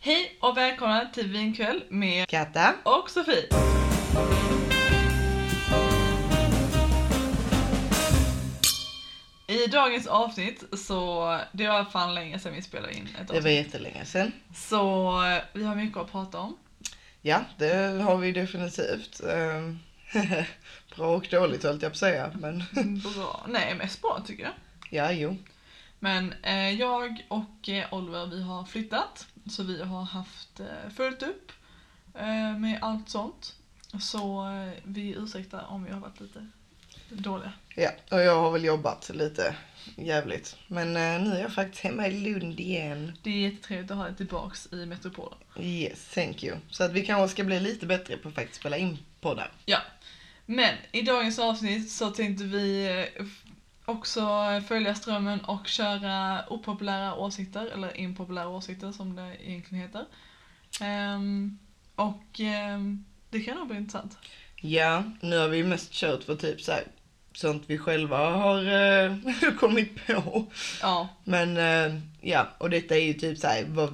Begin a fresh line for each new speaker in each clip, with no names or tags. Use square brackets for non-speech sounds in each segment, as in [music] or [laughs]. Hej och välkomna till Vinkväll med
Katta.
och Sofie. I dagens avsnitt så, det var fan länge sedan vi spelade in ett
Det
avsnitt.
var jättelänge sedan.
Så eh, vi har mycket att prata
[laughs]
om.
Ja, det har vi definitivt. Ehm, [laughs] Bra och dåligt höll jag på att säga. Men [laughs]
Bra. Nej, mest bra tycker jag.
ja, jo.
Men eh, jag och eh, Oliver vi har flyttat så vi har haft eh, fullt upp eh, med allt sånt. Så eh, vi ursäktar om vi har varit lite dåliga.
Ja, och jag har väl jobbat lite jävligt. Men eh, nu är jag faktiskt hemma i Lund igen.
Det är jättetrevligt att ha dig tillbaks i metropolen.
Yes, thank you. Så att vi kanske ska bli lite bättre på att faktiskt spela in poddar.
Ja. Men i dagens avsnitt så tänkte vi eh, f- också följa strömmen och köra opopulära åsikter, eller impopulära åsikter som det egentligen heter. Ehm, och ehm, det kan nog bli intressant.
Ja, nu har vi mest kört för typ så här, sånt vi själva har eh, [laughs] kommit på.
Ja,
Men eh, ja, och detta är ju typ så här, vad,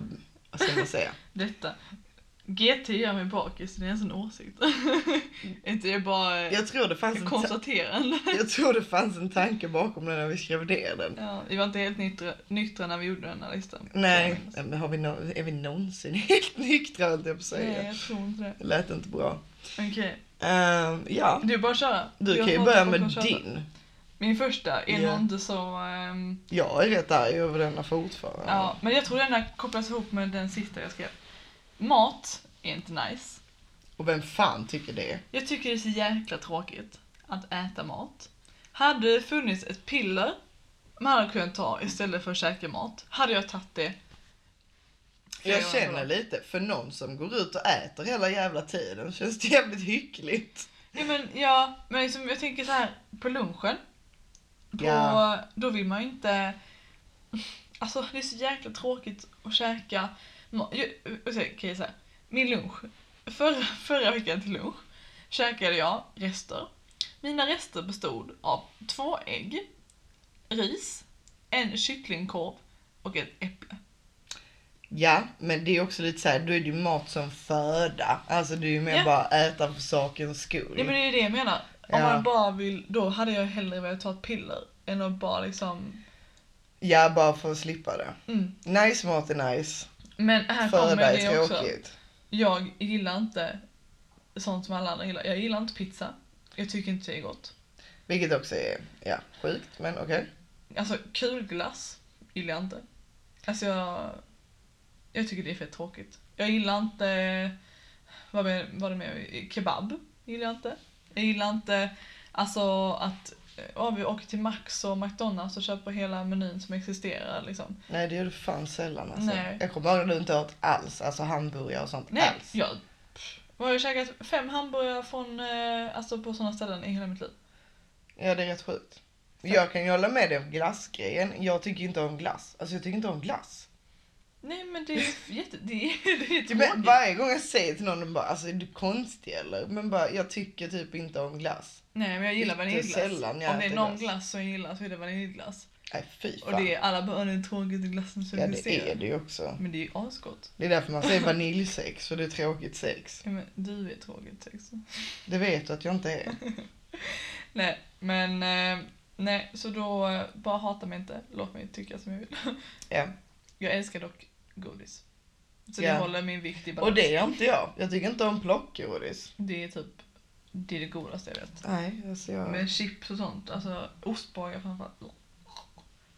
vad ska man säga?
Detta. GT gör mig bakis, det är ens en åsikt. [laughs] Inte det är bara
Jag tror det fanns
ett
en ta-
konstaterande.
Jag tror det fanns en tanke bakom den när vi skrev ner den.
Ja, vi var inte helt nyktra, nyktra när vi gjorde den här listan.
Nej, men har vi nå- är vi någonsin [laughs] helt nyktra höll jag på att
Nej,
säga.
jag tror inte det.
Det lät inte bra.
Okej,
Ehm, ja,
du bara köra.
du
Jag
kan ju
får-
börja
får
med
köra.
din.
Min första är
Ja.
nog inte så... ehm,
Jag är rätt arg över denna fortfarande.
ja, men jag tror den här kopplas ihop med den sista jag skrev. Mat är inte nice.
Och vem fan tycker det?
Jag tycker det är så jäkla tråkigt att äta mat. Hade det funnits ett piller man hade kunnat ta istället för att käka mat, hade jag tagit det. Flera
Jag känner
gånger.
lite för någon som går ut och äter hela jävla tiden känns det jävligt hyckligt.
Ja men, ja, men liksom, jag tänker så här på lunchen. På,
Ja.
Då vill man ju inte... Alltså det är så jäkla tråkigt att käka mat. Okej, okay, så här. Min lunch. Förra, förra veckan till lunch käkade jag rester. Mina rester bestod av två ägg, ris, en kycklingkorv och ett äpple.
Ja, men det är också lite så här, då är det ju mat som föda. Alltså det är ju mer
Ja.
bara äta för sakens skull.
Nej men det är ju det jag menar. Om
Ja.
man bara vill, då hade jag hellre velat ta ett piller än att bara liksom...
Ja, bara för att slippa det.
Mm.
Nice mat är nice.
Men här kommer
Föda
det
är
också.
tråkigt.
Jag gillar inte sånt som alla andra gillar. Jag gillar inte pizza. Jag tycker inte det är gott.
Vilket också är ja, sjukt, men okej.
Alltså kulglass gillar jag inte. Alltså jag, jag tycker det är fett tråkigt. Jag gillar inte, vad var vad det med, kebab gillar jag inte. Jag gillar inte alltså att Ja, vi åker till Max och McDonalds och köper hela menyn som existerar. Liksom.
Nej, det gör du fan sällan alltså.
Nej.
Jag kommer ihåg när du inte åt alls, alltså hamburgare och sånt
Nej,
alls.
jag jag har ju käkat fem hamburgare från, eh, alltså på sådana ställen i hela mitt liv.
Ja, det är rätt sjukt. Jag kan ju hålla med dig om glassgrejen. Jag tycker inte om glass. Alltså jag tycker inte om glass.
Nej men det är
[laughs]
ju jätte... Det är, [laughs] det är
Men
tråkigt.
varje gång jag säger till någon, de bara alltså är du konstig eller? Men bara jag tycker typ inte om glass.
Nej men jag gillar vaniljglass.
sällan jag
Om det är
äter
någon
glass.
glass som jag gillar så är det vaniljglass.
Nej fy fan.
Och det är alla bara "Åh, det är tråkigt i glassen som
ja det är
existerar.
det ju också.
Men det är ju asgott.
Det är därför man säger vaniljsex för det är tråkigt sex.
Ja, men du är tråkigt också.
Det vet du att jag inte är.
[laughs] Nej men eh, nej så då eh, bara hata mig inte. Låt mig tycka som jag vill.
[laughs] Ja.
Jag älskar dock godis. Så
Ja.
det håller min vikt i balans.
Och det gör inte jag. Jag tycker inte om plockgodis.
Det är typ det, är det godaste jag vet.
Nej, alltså jag...
Med chips och sånt. Alltså ostbågar framförallt.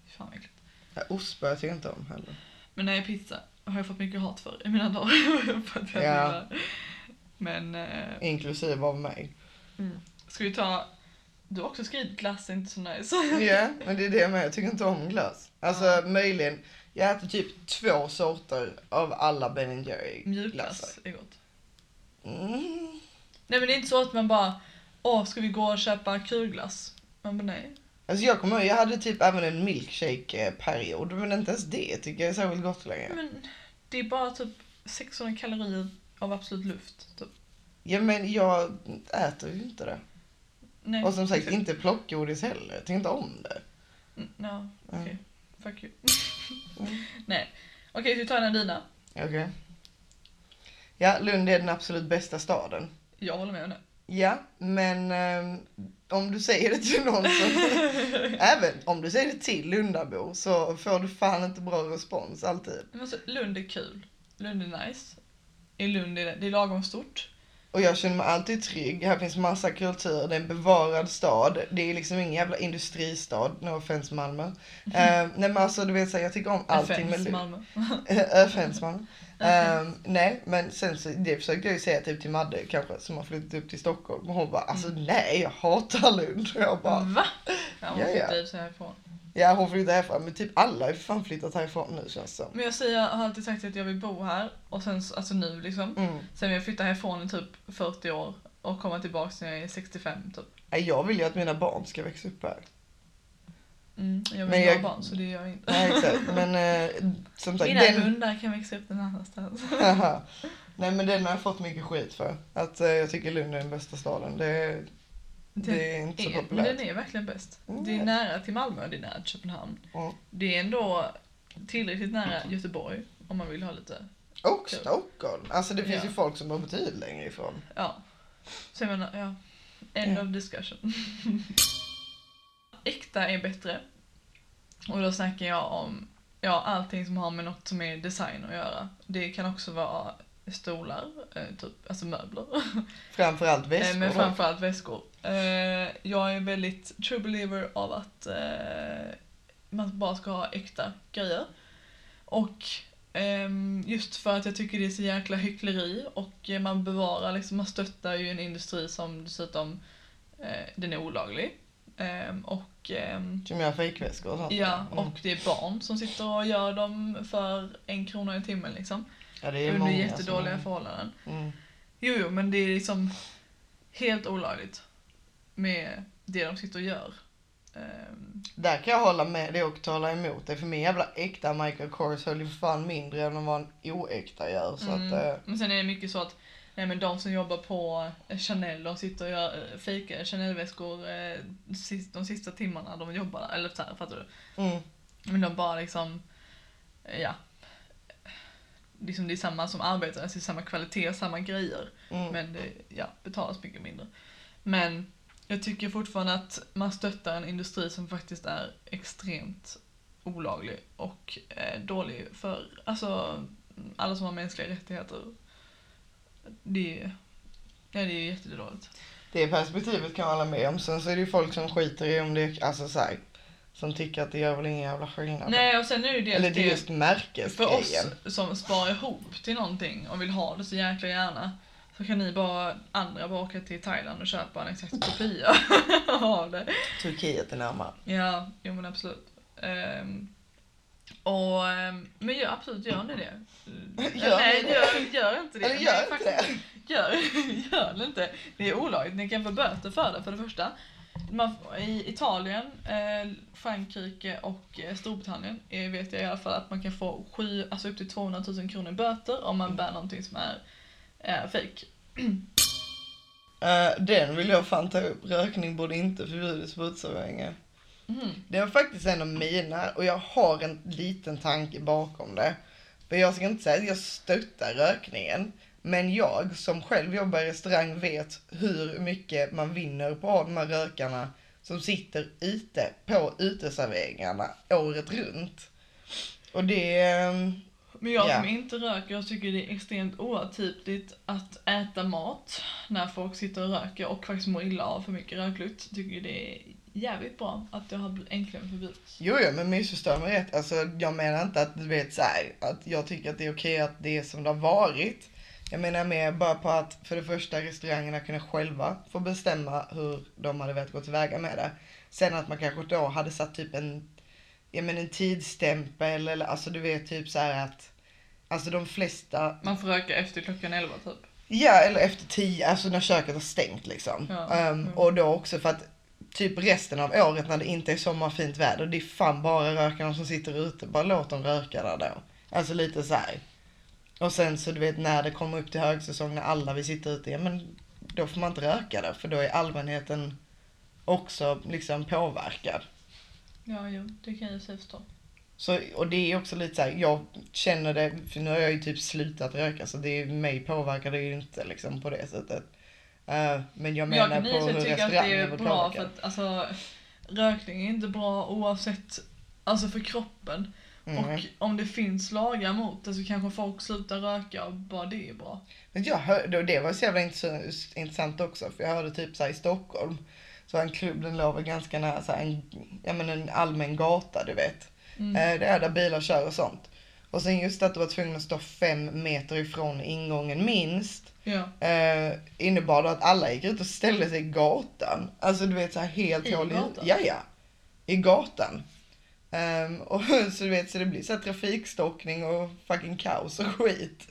Fy Fan vad äckligt.
Ja, ostbågar tycker jag inte om heller.
Men nej, pizza har jag fått mycket hat för i mina dagar. [laughs] för att jag
Ja.
gillar. Men eh,
Inklusive av mig.
ska vi ta... Du har också skrivit glass är inte så nice.
Ja, men det är det med. Jag tycker inte om glass. Alltså
Ja.
möjligen. Jag äter typ två sorter av alla Ben Jerry
[laughs] Mjukglass är gott.
Mm.
Nej men det är inte så att man bara Åh, ska vi gå och köpa kulglass? Man bara nej.
Alltså jag kommer ihåg, jag hade typ även en milkshake-period. Men inte ens det tycker jag är särskilt gott längre.
Men det är bara typ 600 kalorier av absolut luft. Typ.
Ja men jag äter ju inte det.
Nej.
Och som sagt
exakt.
inte plockgodis heller. Jag tycker inte om det.
Mm, Ja, okej.
Mm.
Fuck you.
Mm.
[laughs] nej. Okej, så vi tar en av dina.
Okej. Ja, Lund är den absolut bästa staden.
Jag håller med om det.
Ja, men ehm, om du säger det till någon som... även om du säger det till Lundabor så får du fan inte bra respons alltid.
Men alltså, Lund är kul. Lund är nice. I Lund är det, det är lagom stort.
Och jag känner mig alltid trygg. Här finns massa kultur. Det är en bevarad stad. Det är liksom ingen jävla industristad. No offense Malmö. Eh, nej men alltså du vet så här, jag tycker om allting med
Fens,
Lund.
Malmö.
[laughs] Öfens Malmö. Ehm, nej men sen så det försökte jag ju säga typ till Madde kanske som har flyttat upp till Stockholm. Och hon bara alltså nej jag hatar Lund. Och jag bara [laughs]
Va? Ja, hon
Ja, ja.
fick driva sig härifrån.
ja hon flyttade härifrån. Men typ alla har ju fan flyttat härifrån nu känns det som.
Men jag säger, jag har alltid sagt att jag vill bo här. Och sen, så- alltså nu liksom.
Mm.
Sen vill jag flytta härifrån i typ 40 år och komma tillbaka när jag är 65 typ.
Nej, Jag vill ju att mina barn ska växa upp här.
Mm, jag vill ha
Men jag-
barn så det gör jag inte.
Nej exakt men eh, som sagt.
Mina
den-
hundar kan växa upp någon annanstans.
Haha. [laughs] Nej men den har jag fått mycket skit för. Att eh, jag tycker Lund är den bästa staden. Det, det är inte så
Är- Men den
populärt.
är verkligen bäst.
Mm.
Det är nära till Malmö, det är nära till Köpenhamn.
Mm.
Det är ändå tillräckligt nära Göteborg om man vill ha lite,
Och Stockholm. Alltså det finns
Ja.
ju folk som bor betydligt längre ifrån.
ja. Så jag menar, ja. End
Ja.
of discussion. [laughs] Äkta är bättre. Och då snackar jag om ja, allting som har med något som är design att göra. Det kan också vara stolar, eh, typ, alltså möbler.
Framförallt
Eh,
väskor.
Men
då.
framförallt väskor. Eh, jag är väldigt true believer av att eh, man bara ska ha äkta grejer. Och ehm, just för att jag tycker det är så jäkla hyckleri och eh, man bevarar liksom, man stöttar ju en industri som dessutom eh, den är olaglig. Ehm, och ehm,
Som gör fejkväskor och sånt.
Ja,
Mm.
och det är barn som sitter och gör dem för en krona i timmen liksom.
ja, det är
Under
många
jättedåliga
som...
förhållanden.
Mm.
Jo, jo, men det är liksom helt olagligt med det de sitter och gör. Ehm,
Där kan jag hålla med dig och tala emot dig. För min jävla äkta Michael Kors höll ju fan mindre än vad en oäkta gör. Så
mm.
att, eh,
Men sen är det mycket så att nej, men de som jobbar på eh, Chanel, de sitter och gör, eh, fejkar Chanel-väskor eh, sis- de sista timmarna de jobbar där. Eller så här, fattar du?
mm.
Men de bara liksom, eh, ja. Liksom det är samma som arbetar, alltså det är samma kvalitet, samma grejer.
Mm.
Men det ja, betalas mycket mindre. Men jag tycker fortfarande att man stöttar en industri som faktiskt är extremt olaglig och eh, dålig för alltså, alla som har mänskliga rättigheter. Det, är- ja, det är ju jättedåligt.
Det perspektivet kan jag hålla med om. Sen så är det ju folk som skiter i om det är, alltså så här, som tycker att det gör väl ingen jävla skillnad.
Nej, och sen är det ju dels
Eller det är
det-
just märkesgrejen.
För oss som sparar ihop till någonting och vill ha det så jäkla gärna så kan ni bara, andra bara åka till Thailand och köpa en exakt kopia [laughs] av det.
Turkiet är närmare.
Ja, jo men absolut. Ehm, och, ehm, men gör absolut, gör ni det?
[laughs] Gör
Nej,
ni det?
gör, gör inte det.
Eller gör
Nej,
inte
faktiskt
det.
Gör, [laughs] gör det inte. Det är olagligt, ni kan få böter för det för det första. Man, I Italien, eh, Frankrike och eh, Storbritannien eh, vet jag i alla fall att man kan få sju, alltså upp till 200 000 kronor i böter om
Mm.
man bär någonting som är eh, fake.
Eh, den vill jag fan ta upp. Rökning borde inte förbjudas på uteserveringar.
Mm.
Det var faktiskt en av mina och jag har en liten tanke bakom det. Men jag ska inte säga att jag stöttar rökningen. Men jag som själv jobbar i restaurang vet hur mycket man vinner på att ha de här rökarna som sitter ute på uteserveringarna året runt. Och det... eh,
Men jag
Ja.
som inte röker, jag tycker det är extremt oatypligt att äta mat när folk sitter och röker och faktiskt mår illa av för mycket röklukt. Tycker det är jävligt bra att det har bl- äntligen förbjudits.
Jo, jo, men missförstå mig rätt. Alltså, jag menar inte att du vet så här, att jag tycker att det är okej att det är som det har varit. Jag menar mer bara på att för det första restaurangerna kunde själva få bestämma hur de hade velat gå tillväga med det. Sen att man kanske då hade satt typ en, ja men en tidsstämpel eller alltså du vet typ så här att, alltså de flesta
Man får röka efter klockan 11 typ.
Ja, eller efter tio, alltså när köket har stängt liksom.
Ja,
Ehm,
mm.
Och då också för att typ resten av året när det inte är sommarfint väder, det är fan bara rökarna som sitter ute. Bara låt dem röka där då. Alltså lite så här. Och sen så du vet när det kommer upp till högsäsong när alla vi sitter ute, ja men då får man inte röka där för då är allmänheten också liksom påverkad.
Ja, jo, det kan jag ju förstå.
Så, och det är också lite så här, jag känner det, för nu har jag ju typ slutat röka så det är, mig påverkar det ju inte liksom på det sättet. Eh, men jag
Men jag
menar
kan
på
i och för
hur
sig tycka att det
restaurangen
är
blir
bra
påverkade.
för att alltså, rökning är inte bra oavsett alltså för kroppen.
Mm.
Och om det finns lagar mot det så kanske folk slutar röka och bara det är bra.
Men jag hörde, och det var så jävla intress- intressant också, för jag hörde typ så här i Stockholm, så var en klubb, den låg väl ganska nära så här en, ja, men en allmän gata, du vet.
Mm.
Eh, Det är där bilar kör och sånt. Och sen just att du var tvungen att stå fem meter ifrån ingången minst,
Ja.
eh, innebar då att alla gick ut och ställde sig i gatan. Alltså du vet så här helt
I
hål
gatan?
Ja, ja. I gatan. Ehm, [laughs] och så du vet, så det blir så här trafikstockning och fucking kaos och skit.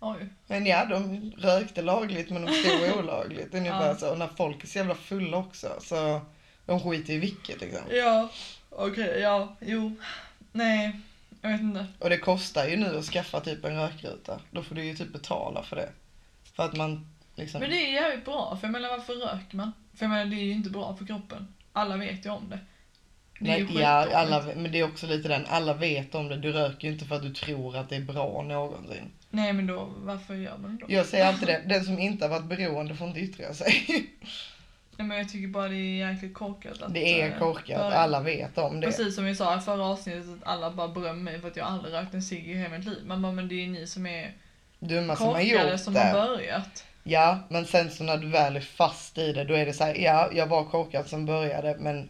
Oj.
Men ja, de rökte lagligt men
[laughs]
de stod olagligt. Ungefär
Ja.
så. Och när folk är så jävla fulla också så de skiter i vilket liksom.
Ja. Okej, ja. Jo. Nej. Jag vet inte.
Och det kostar ju nu att skaffa typ en rökruta. Då får du ju typ betala för det. För att man liksom...
Men det är jävligt bra. För jag menar varför röker man? För jag menar det är ju inte bra för kroppen. Alla vet ju om det. Det är ju
Nej, ja,
skitdåligt.
alla, men det är också lite den, alla vet om det. Du röker ju inte för att du tror att det är bra någonsin.
Nej men då, varför gör man det då?
Jag säger alltid det, den som inte har varit beroende får inte yttra sig. [laughs]
Nej men jag tycker bara det är jäkligt korkat att...
Det är
eh,
korkat,
börja.
alla vet om det.
Precis som vi sa i förra avsnittet, att alla bara berömmer mig för att jag aldrig rökt en cigg i hela mitt liv. Man bara, men det är ju ni som är
Dumma som har
korkade
gjort
som
det.
har börjat.
Ja, men sen så när du väl är fast i det, då är det så här, ja, jag var korkad som började, men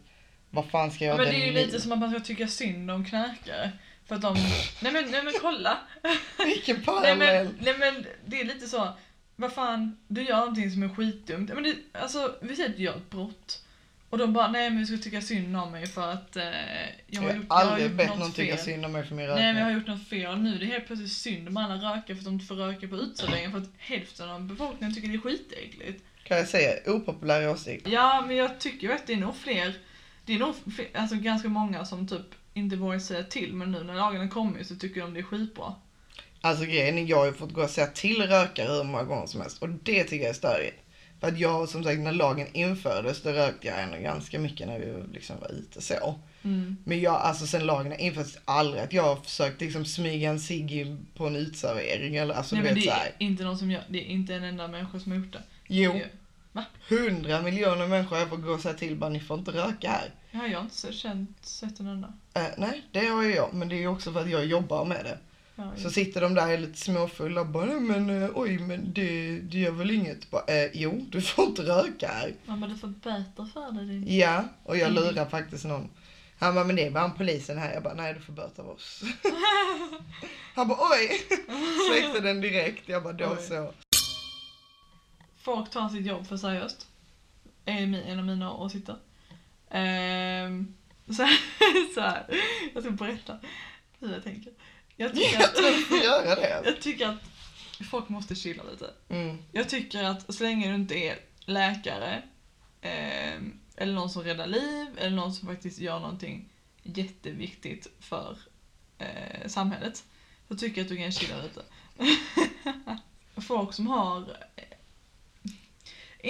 vad fan ska
Ja,
jag
men
den
det är ju
nu?
lite som att man ska tycka synd om knarkare. För att de... nej, men, nej men kolla!
[laughs] Vilken
nej,
parallell!
men, nej men det är lite så, vad fan, du gör någonting som är skitdumt. Men det, alltså, vi säger att du gör ett brott. Och de bara, nej men du ska tycka synd om mig för att eh, jag
Jag
har
har
gjort, jag har
aldrig
gjort
bett någon
något
tycka
fel.
synd om mig för min
Nej
rökning.
men jag har gjort något fel. Nu är det helt plötsligt synd om alla rökare för att de inte får röka på uteserveringen för att hälften av befolkningen tycker det är skitäckligt.
Kan jag säga opopulär åsikt?
Ja men jag tycker ju att det är nog fler, det är nog fler, alltså ganska många som typ inte vågar säga till men nu när lagarna kommer så tycker de det är skitbra.
Alltså grejen är, jag har ju fått gå och säga till rökare hur många gånger som helst och det tycker jag är störigt. För att jag, som sagt, när lagen infördes då rökte jag ändå ganska mycket när vi liksom var ute så.
Mm.
Men jag, alltså sen lagen infördes aldrig att jag har försökt liksom smyga en cigg på en uteservering eller alltså
Nej
du
men
vet
det
så här.
är inte någon som gör, det är inte en enda människa som har gjort det.
Jo,
Va?
hundra miljoner människor har jag fått gå och säga till bara ni får inte röka här.
Jag har jag har inte så- känt, sett en enda.
Eh, nej, det har ju jag, men det är ju också för att jag jobbar med det.
Ja,
Så sitter de där lite småfulla och bara, "Nej, men eh, oj, men det, det gör väl inget? Bara, eh, jo, du får inte röka här.
Man bara, du får böter för det din...
Ja, och jag
Mm.
lurar faktiskt någon. Han bara, men det är bara en polisen här. Jag bara, nej du får böta av
[laughs]
oss. Han bara, oj! Släckte den direkt. Jag bara, då
Oj. [laughs]
så.
Folk tar sitt jobb för seriöst. Är mi- en av mina åsikter. Ehm, [laughs] så, här, så här. Jag ska berätta hur jag tänker. Jag
[laughs]
tycker
Jag tror du
att,
får göra det.
jag tycker att folk måste chilla lite.
Mm.
Jag tycker att så länge du inte är läkare ehm, eller någon som räddar liv eller någon som faktiskt gör någonting jätteviktigt för eh, samhället så tycker jag att du kan chilla lite. [laughs] folk som har eh,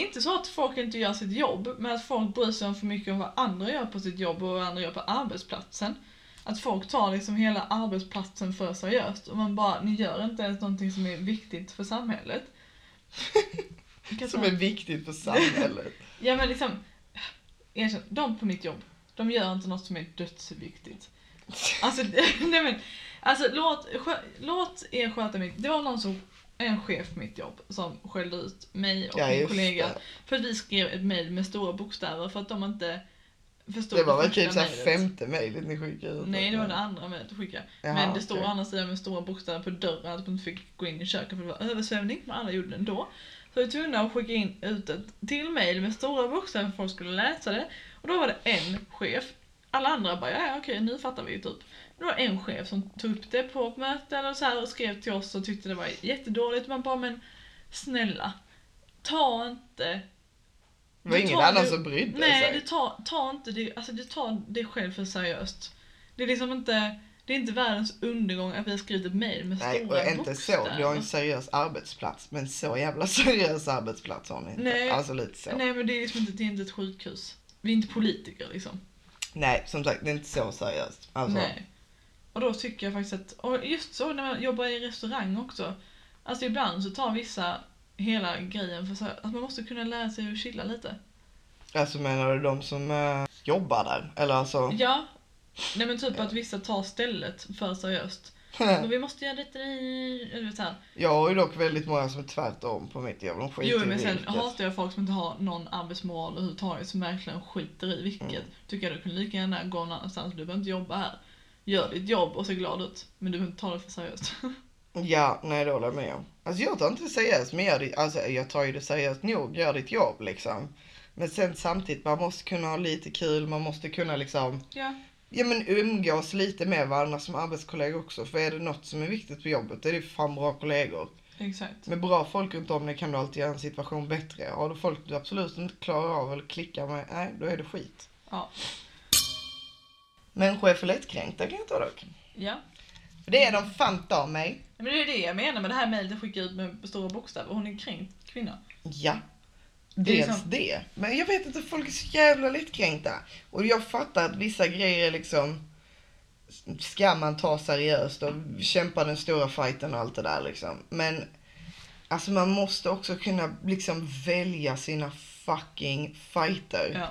inte så att folk inte gör sitt jobb, men att folk bryr sig om för mycket om vad andra gör på sitt jobb och vad andra gör på arbetsplatsen. Att folk tar liksom hela arbetsplatsen för seriöst och man bara, ni gör inte ens någonting som är viktigt för samhället. [laughs] Vilka
Som
så-
är viktigt för samhället.
Ja men liksom, erkänn, de på mitt jobb, de gör inte något som är dödsviktigt. Alltså, [laughs] nej men, alltså låt, skö, låt er sköta mitt, det var någon som, en chef på mitt jobb som skällde ut mig och
Ja,
min
just
kollega
det.
för att vi skrev ett mejl med stora bokstäver för att de inte förstod
Det var väl
första
typ såhär
mejlet.
femte mejlet ni skickade ut.
Nej det var det andra mejlet du skickade.
Jaha,
men det stod å
okej.
andra sidan med stora bokstäver på dörren att man inte fick gå in i köket för det var översvämning men alla gjorde det ändå. Så vi var tvungna att skicka in ut ett till mejl med stora bokstäver för att folk skulle läsa det. Och då var det en chef. Alla andra bara ja ja, okej nu fattar vi ju typ. Det var en chef som tog upp det på ett möte eller så här och skrev till oss och tyckte det var jättedåligt. Man bara men snälla, ta inte
Det var
Du
ingen
tar
annan
ju-
som brydde
Nej,
sig.
du tar, tar inte det, alltså du tar det själv för seriöst. Det är liksom inte, det är inte världens undergång att vi har skrivit ett mejl med
Nej,
stora
och inte så. Du har en
bokstäver.
seriös arbetsplats, men så jävla [laughs] seriös arbetsplats har ni inte.
Nej.
Alltså lite så. Nej.
Nej, men det är liksom inte, det är inte ett sjukhus. Vi är inte politiker liksom.
som sagt, det är inte så seriöst. Alltså,
Nej. Och då tycker jag faktiskt att, och just så när man jobbar i restaurang också. Alltså ibland så tar vissa hela grejen för så att man måste kunna lära sig att chilla lite.
Alltså menar du de som eh, jobbar där? Eller alltså? [laughs]
Ja. Nej men typ att vissa tar stället för seriöst. Men vi måste göra lite i... eller så här.
Jag har ju dock väldigt många som är tvärtom på mitt jobb. De skiter
Jo
i
men sen
vilket.
hatar jag folk som inte har någon arbetsmoral överhuvudtaget som verkligen skiter i vilket.
Mm.
Tycker jag du kunde lika gärna gå någon annanstans, du behöver inte jobba här. Gör ditt jobb och se glad ut. Men du behöver inte ta det för seriöst. [laughs]
Ja, nej det håller jag med om. Alltså jag tar inte det seriöst, men jag, alltså, jag tar ju det seriöst nog. Gör ditt jobb liksom. Men sen samtidigt, man måste kunna ha lite kul, man måste kunna liksom
ja.
Ja men umgås lite med varandra som arbetskollegor också. För är det något som är viktigt på jobbet, då är det fan bra kollegor.
Exakt.
Med bra folk runt om dig kan du alltid göra en situation bättre. Har du folk du absolut inte klarar av eller klickar med, nej då är det skit.
Ja.
Människor är för lättkränkta kan jag ta dock.
ja.
För det är de fan av mig.
Men det är ju det jag menar med det här mejlet jag skickade ut med stora bokstäver. Hon är en kränkt kvinna.
Mm. Ja.
Det är
Dels
sant.
det. Men jag vet inte, folk är så jävla lättkränkta. Och jag fattar att vissa grejer är liksom ska man ta seriöst och kämpa den stora fighten och allt det där liksom. Men alltså man måste också kunna liksom välja sina fucking fighter.
Ja.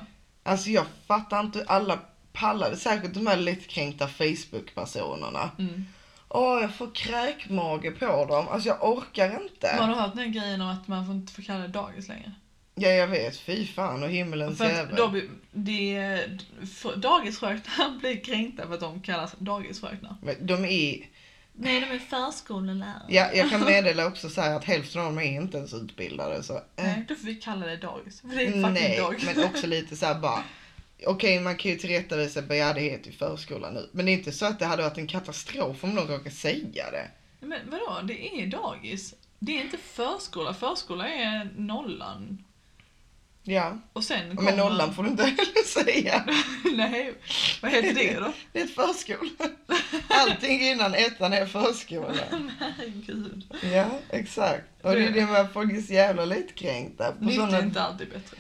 Alltså jag fattar inte alla pallade, särskilt de här lättkränkta Facebook-personerna.
Mm.
Åh, jag får kräkmage på dem. Alltså jag orkar inte.
Man har hört den här grejen om att man får inte får kalla det dagis längre.
Ja, jag vet. Fy fan och himmelens
För att
jävel.
då blir det, för dagisfröknar [laughs] blir kränkta för att de kallas dagisfröknar.
Men de är...
Nej, de är förskollärare.
Ja, jag kan meddela också så här att hälften av dem är inte ens utbildade. Så, eh.
Nej, då får vi kalla det dagis. För det är fucking
Nej,
dagis.
men också lite så här bara. Okej, man kan ju tillrättavisa på ja, det heter ju förskola nu. Men det är inte så att det hade varit en katastrof om någon råkade säga det.
[laughs] Men vadå, det är dagis. Det är inte förskola. Förskola är nollan.
Ja,
Och sen
men nollan får du inte heller säga.
[laughs] Nej, vad heter det
[laughs]
då? [laughs]
Det är ett förskola. Allting innan ettan är förskola.
Herregud.
Ja, exakt. Och det är det med att folk är så jävla lättkränkta. På
Nytt
sådana
är inte alltid bättre.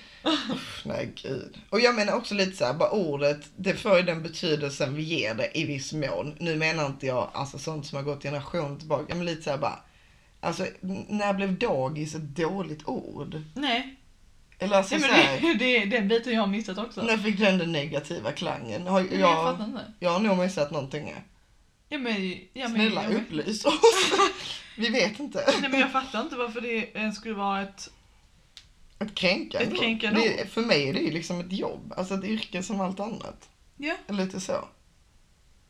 Nej gud. Och jag menar också lite såhär, bara ordet, det får ju den betydelsen vi ger det i viss mån. Nu menar inte jag alltså sånt som har gått generation tillbaka, men lite såhär bara. Alltså n- när blev dagis ett dåligt ord?
Nej,
Eller alltså
Nej men
såhär,
det, det är den biten jag har missat också. Nej,
när fick den den negativa klangen? Har,
men Jag
jag,
fattar inte.
jag har nog missat någonting. här.
Ja, men, ja, men,
Snälla
jag,
upplys oss. [laughs] vi vet inte.
[laughs] Nej men jag fattar inte varför det ens skulle vara ett...
Ett kränkande,
Ett
ord.
kränkande
det, är- För mig är det ju liksom ett jobb, alltså ett yrke som allt annat.
Ja.
Lite så.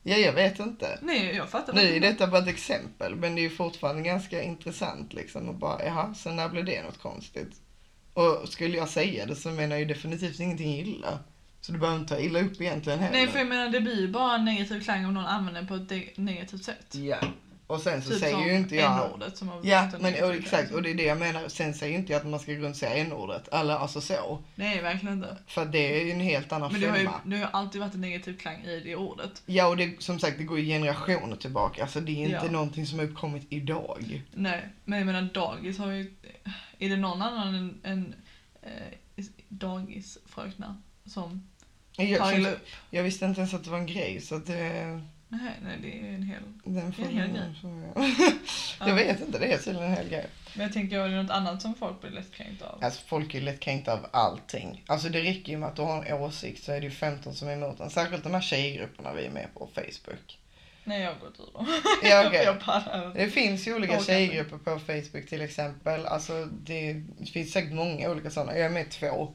Ja, jag vet inte.
Nej jag fattar
Nu är
inte.
detta bara ett exempel, men det är ju fortfarande ganska intressant liksom. Och bara, jaha, så när blev det något konstigt? Och skulle jag säga det så menar jag ju definitivt ingenting illa. Så du behöver inte ta illa upp egentligen heller.
Nej för jag menar det blir ju bara en negativ klang om någon använder den på ett de- negativt sätt.
Ja. Och sen så
typ
säger
som
ju inte jag...
n-ordet som har
Ja,
fått en
men
negativ liksom.
och,
klang.
exakt. Och det är det jag menar. Sen säger ju inte jag att man ska gå runt och säga n-ordet. Eller alltså så.
Nej verkligen inte.
För det är ju en helt annan
Men det har, ju,
femma.
det har ju alltid varit en negativ klang i det ordet.
Ja, och det, som sagt, det går ju generationer tillbaka. Alltså det är inte
Ja.
någonting som har uppkommit idag.
Nej men jag menar dagis har ju... Är det någon annan än, än eh, dagisfröknar som
Jag,
tar
som,
illa upp?
jag visste inte ens att det var en grej, så att eh, det...
Nej, nej det är ju en hel...
Den
Det är en hel
frågan
grej.
får jag. [laughs] jag
Ja.
vet inte, det är tydligen en hel grej.
Men jag tänker, är det något annat som folk blir lättkränkta av?
Alltså folk är lättkränkta av allting. Alltså det räcker ju med att du har en åsikt så är det ju 15 som är emot en. Särskilt de här tjejgrupperna vi är med på
[laughs]
Facebook.
Nej, jag har gått ur dem.
Ja, okej.
[laughs] jag pallar inte.
Det finns ju olika
Okej.
tjejgrupper på Facebook till exempel. Alltså det finns säkert många olika sådana. Jag är med i två.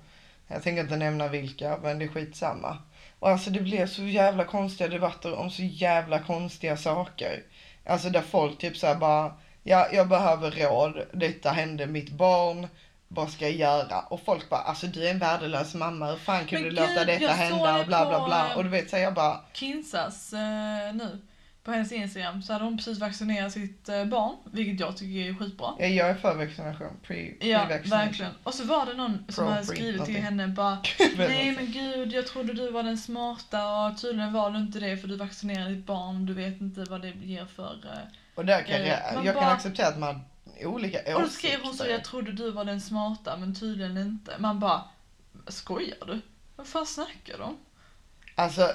Jag tänker inte nämna vilka, men det är skitsamma. Och alltså det blev så jävla konstiga debatter om så jävla konstiga saker. Alltså där folk typ såhär bara, ja jag behöver råd, detta hände mitt barn, vad ska jag göra? Och folk bara, alltså du är en värdelös mamma, hur fan kunde
Men
du låta
gud,
detta
jag såg
hända?
det
Och bla bla
på,
bla.
eh,
Och du vet såhär jag bara,
Kinsas eh, nu, på hennes Instagram, så hade hon precis vaccinerat sitt eh, barn, vilket jag tycker är skitbra.
ja, jag är för vaccination, pre,
Ja,
pre-vaccination. [laughs]
verkligen. Och så var det någon som
liksom. Pro
hade
breed,
skrivit till
någonting.
henne bara
[laughs] Gud, vad
Nej men gud, jag trodde du var den smarta och tydligen var du inte det för du vaccinerade ditt barn, du vet inte vad det ger för... eh."
Och där kan
Ja,
jag,
man
jag kan
bara-
acceptera att man har olika åsikter.
Och då skrev hon så, jag trodde du var den smarta men tydligen inte. Man bara, skojar du? Vad fan snackar de?
Alltså,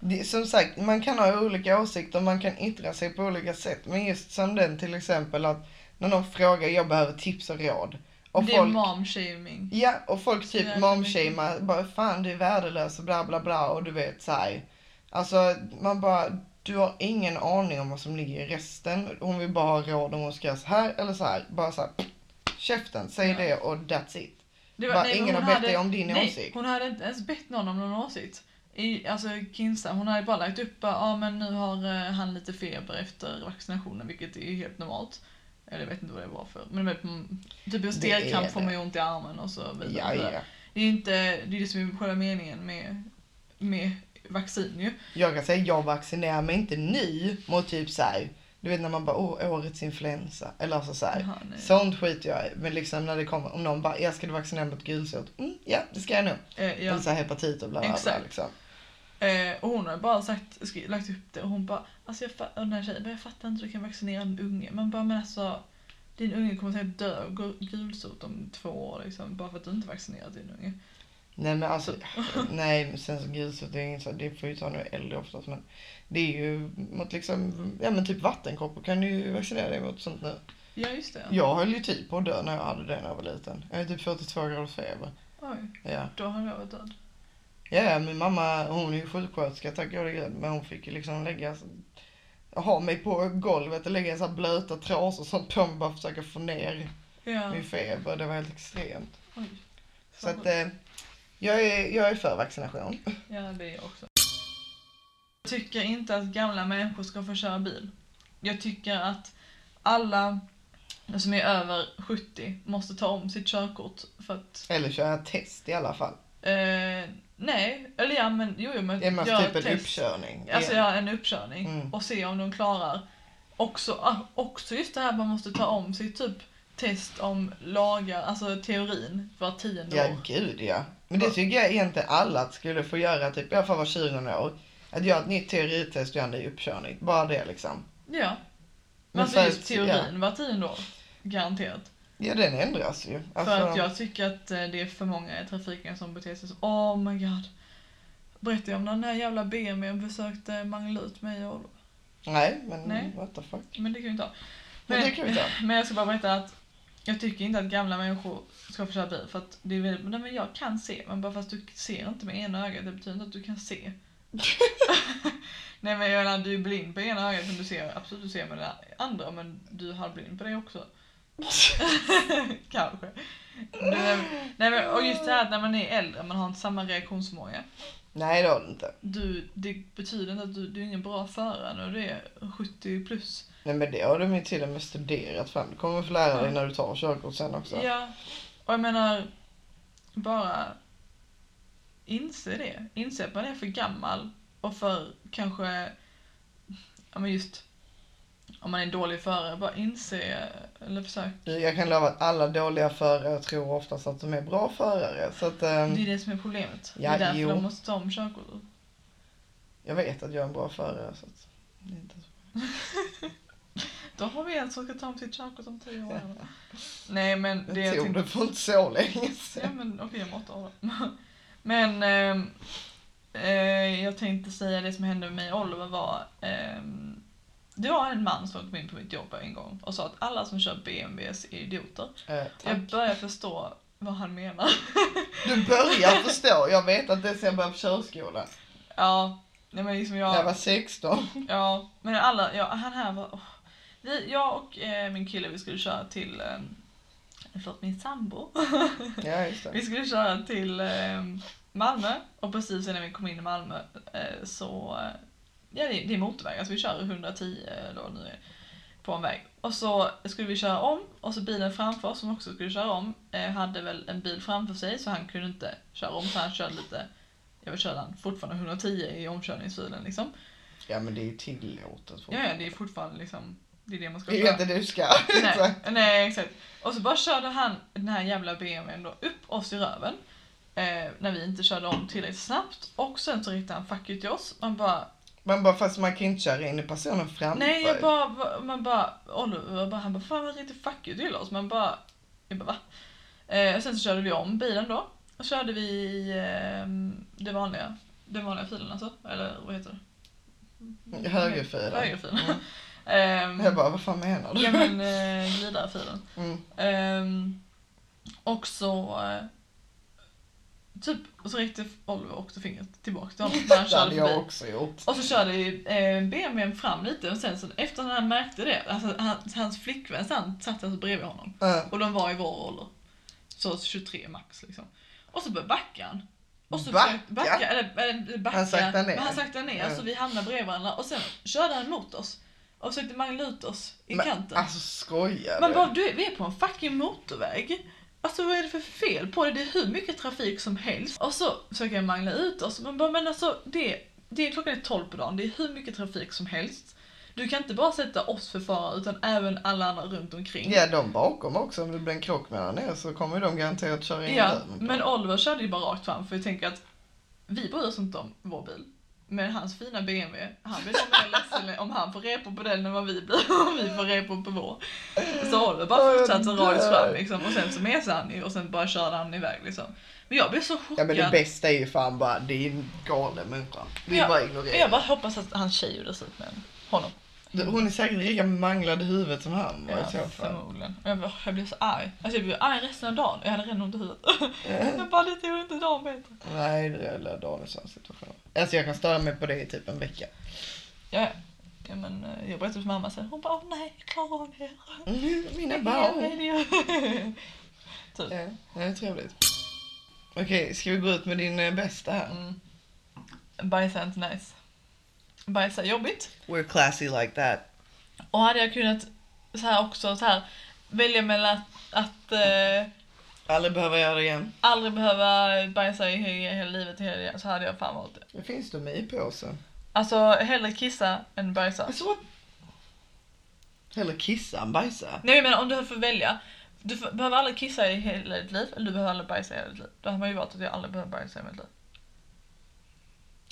det, som sagt, man kan ha olika åsikter, man kan yttra sig på olika sätt. Men just som den till exempel att när någon frågar, jag behöver tips och råd. Och
det är
folk,
momshaming.
ja, och folk typ
Ja,
ja,
jag
momshamear, bara fan du är värdelös och bla bla bla och du vet såhär. Alltså man bara, du har ingen aning om vad som ligger i resten. Hon vill bara ha råd om hon ska göra så här eller så här. Bara såhär, käften, säg
Ja.
det och that's it.
Det
Bara,
nej, men
ingen
hon
har bett
hade-
dig om din
nej,
åsikt.
hon hade inte ens bett någon om någon åsikt. I, alltså Kinsa, hon hade bara lagt upp bara, ah, men nu har eh, han lite feber efter vaccinationen vilket är helt normalt. Eller jag vet inte vad det var för. Men vet, mm, typ jag
Det
stelkramp
är
får man ju ont i armen och så
Ja,
vidare.
ja.
Det är ju inte, det är det som är själva meningen med, med vaccin ju.
Jag kan säga, jag vaccinerar mig inte nu mot typ såhär, du vet när man bara, åh, årets influensa. Eller alltså såhär.
Jaha, nej.
Sånt skiter jag i. Men liksom när det kommer, om någon bara, jag ska du vaccinera mot gulsot? Mm, ja, det ska jag nog.
Eh, ja.
Eller så här hepatit och bla bla bla
Exakt.
liksom.
Eh, och hon har bara sagt, skri- lagt upp det och hon bara, alltså jag, fa- och den här tjejen, bara, jag fattar inte hur du kan vaccinera en unge. Man bara, men alltså din unge kommer säkert dö och gå gulsot om två år liksom, bara för att du inte vaccinerat din unge.
Nej
[laughs]
men alltså, nej men sen så gulsot, det är inget så, det får ju ta nu äldre oftast men det är ju mot liksom, ja men typ vattenkoppor kan du ju vaccinera dig mot sånt nu.
Ja just det.
Jag höll ju typ på att dö när jag hade det när jag var liten. Jag är typ 42 graders feber.
Oj,
Ja.
då har jag varit död.
Ja, ja, min mamma hon är ju sjuksköterska tack gode gud. Men hon fick ju liksom lägga, ha mig på golvet och lägga så här blöta trasor och sånt på mig bara för att försöka få ner
Ja.
min feber. Det var helt extremt.
Oj.
Så att eh, jag är, jag är för vaccination.
Ja det är jag också. Jag tycker inte att gamla människor ska få köra bil. Jag tycker att alla som är över 70 måste ta om sitt körkort för att
Eller köra test i alla fall.
Eh, nej, eller ja men jo, jo men
Det är mest
gör
typ en
ett test.
uppkörning.
Alltså
Ja.
göra en uppkörning
Mm.
och se om de klarar. Också, ah, också just det här man måste ta om sitt typ test om lagar, alltså teorin var tionde
Ja,
år.
gud ja. Men det tycker jag egentligen alla att skulle få göra, typ i alla fall var 20 år. Att göra ett nytt teoritest och göra en ny uppkörning. Bara det liksom.
Ja. Men
Men
alltså
för
just
att-
teorin var tionde år. Garanterat.
Ja, den ändras ju. Alltså,
För att jag tycker att eh, det är för många i trafiken som beter sig så. Oh my god. Berättade jag om när den här jävla BMWn försökte mangla ut mig och Oliver?
Nej, men
Nej.
what the fuck.
Men det kan ju inte ha.
Men det kan vi ta.
[laughs] Men jag ska bara berätta att jag tycker inte att gamla människor ska få köra bil för att det är väldigt, nej men jag kan se, men bara fast du ser inte med ena ögat, det betyder inte att du kan
[laughs]
se. nej men jag menar, du är blind på ena ögat men du ser, absolut du ser med det andra men du är halvblind på det också. [laughs] Kanske. Du, är- nej men och just det här att när man är äldre, man har inte samma reaktionsförmåga.
Nej, det har du inte.
Du, det betyder inte att du, du är ingen bra förare när du är 70 plus.
Nej, men det har de ju till och med studerat fram. Du kommer få lära dig när du tar körkort sen också.
Ja, och jag menar bara inse det. Inse att man är för gammal och för kanske, ja men just om man är en dålig förare, bara inse eller försök.
Jag kan lova att alla dåliga förare tror oftast att de är bra förare. Så att, ehm,
Det är det som är problemet.
Ja,
det är därför
jo.
de måste ta om körkortet.
jag vet att jag är en bra förare. Så att, det är inte så.
Då har vi en som ska ta om sitt körkort om tio
[laughs]
år. Nej men det
jag
jag
tog
tänkte
det för inte så länge sedan.
Ja men okej, om åtta år då. [laughs] Men ehm, eh, jag tänkte säga det som hände med mig och Oliver var ehm, det var en man som kom in på mitt jobb en gång och sa att alla som kör BMWs är idioter.
Eh, tack.
Jag börjar förstå vad han menar. [laughs]
Du börjar förstå. Jag vet att det är sen jag började på körskolan.
ja, nej men liksom
När jag
jag...
var 16.
[laughs] Ja, men alla, ja, han här var... åh. Vi, jag och eh, min kille vi skulle köra till... Eh, förlåt, min sambo.
Ja, just det.
Vi skulle köra till eh, Malmö och precis innan vi kom in i Malmö eh, så, eh, ja det, det är motorväg, alltså vi kör 110 eller vad det nu är, på en väg. Och så skulle vi köra om och så bilen framför oss som också skulle köra om eh, hade väl en bil framför sig så han kunde inte köra om så han körde lite, jag vill köra han fortfarande 110 i omkörningsfilen liksom.
Ja, men det är ju tillåtet.
Ja, ja det är fortfarande liksom, det är det man ska
Det är inte du ska. [laughs]
Nej, nej exakt. Och så bara körde han den här jävla BMWn då upp oss i röven. Eh, när vi inte körde om tillräckligt snabbt. Och sen så riktade han fuck you till oss. Man bara,
Men bara fast man kan inte köra in i personen framför.
nej jag bara, va- man bara, Oliver bara, han bara fan vad riktigt fuck you till oss. Man bara, jag bara va? Eh, och sen så körde vi om bilen då. Och körde vi eh, ehm, det vanliga Den vanliga filen alltså, eller vad heter det?
Högerfilen.
Högerfilen.
Mm.
[laughs] Ehm,
Jag bara, vad fan menar du?
ja
[laughs]
men eh, glidarfilen.
Mm.
Ehm, och så eh, typ, och så räckte Oliver också fingret tillbaka
[laughs]
till honom när han
Det hade
körde
jag
förbi.
också gjort.
Och så körde ju, eh, BMWn fram lite och sen så efter när han märkte det, alltså hans, hans flickvän sen satt alltså bredvid honom.
Ja.
Och de var i vår ålder. Så 23 max liksom. Och så började backa han. Och så
Backa?
försökte- backa eller, eller backa.
Han saktade ner.
Men han saktade ner
Ja.
så vi hamnade bredvid varandra och sen körde han mot oss. Och försökte mangla ut oss i
Men,
kanten.
Alltså skojar
Man
du?
bara, du, är- vi är på en fucking motorväg. Alltså vad är det för fel på det? Det är hur mycket trafik som helst. Och så försöker jag mangla ut oss. Man bara, men alltså det, det är klockan är 12 på dagen. Det är hur mycket trafik som helst. Du kan inte bara sätta oss för fara utan även alla andra runt omkring.
Ja, de bakom också. Om det blir en krock mellan er så kommer ju de garanterat köra in
Ja,
dörren på
men Oliver körde ju bara rakt fram för jag tänker att vi bryr oss inte om vår bil. Men hans fina BMW, han blir nog mer ledsen om han får repor på den än vad vi blir om vi får repor på vår. Så Oliver bara
Åh,
fortsatte
jag
rakt
dör.
fram liksom, och sen så mesade han ju och sen bara körde han iväg liksom. Men jag blev så
Ja
chockad.
men det bästa är ju fan bara, det är en galen människa. Det är
Ja,
bara
Men jag
ignorera.
bara hoppas att hans tjej gjorde slut med honom.
Du, Hon är säkert lika manglad i huvudet som han var i så fall.
förmodligen. Jag, bara, jag blev så arg. Alltså jag blev arg resten av dagen. Jag hade redan ont i huvudet.
Ja.
Jag bara, det gjorde inte dagen bättre.
Nej, det är väl Danielssons situation. Alltså jag kan störa mig på det i typ en vecka.
Ja, ja. ja men eh, jag berättade för mamma sen. Hon bara, åh nej, jag klarar av det.
Mm, mina
Ge mig
barn.
det.
Ja, det är trevligt. Okej, ska vi gå ut med din eh, bästa här?
Mm. Bajsa är inte nice. Bajsa är jobbigt.
We're classy like that.
Och hade jag kunnat så här också så här, välja mellan att, att eh,
Aldrig behöva göra det igen.
aldrig behöva bajsa i he- hela livet i hela, så hade jag fan valt det.
Det finns de i påsen.
Alltså hellre kissa än bajsa.
Alltså what? Hellre kissa än bajsa.
Nej men om du får välja. Du får, behöver aldrig kissa i hela ditt liv eller du behöver aldrig bajsa i hela ditt liv. Då hade man ju valt att jag aldrig behöver bajsa i mitt liv.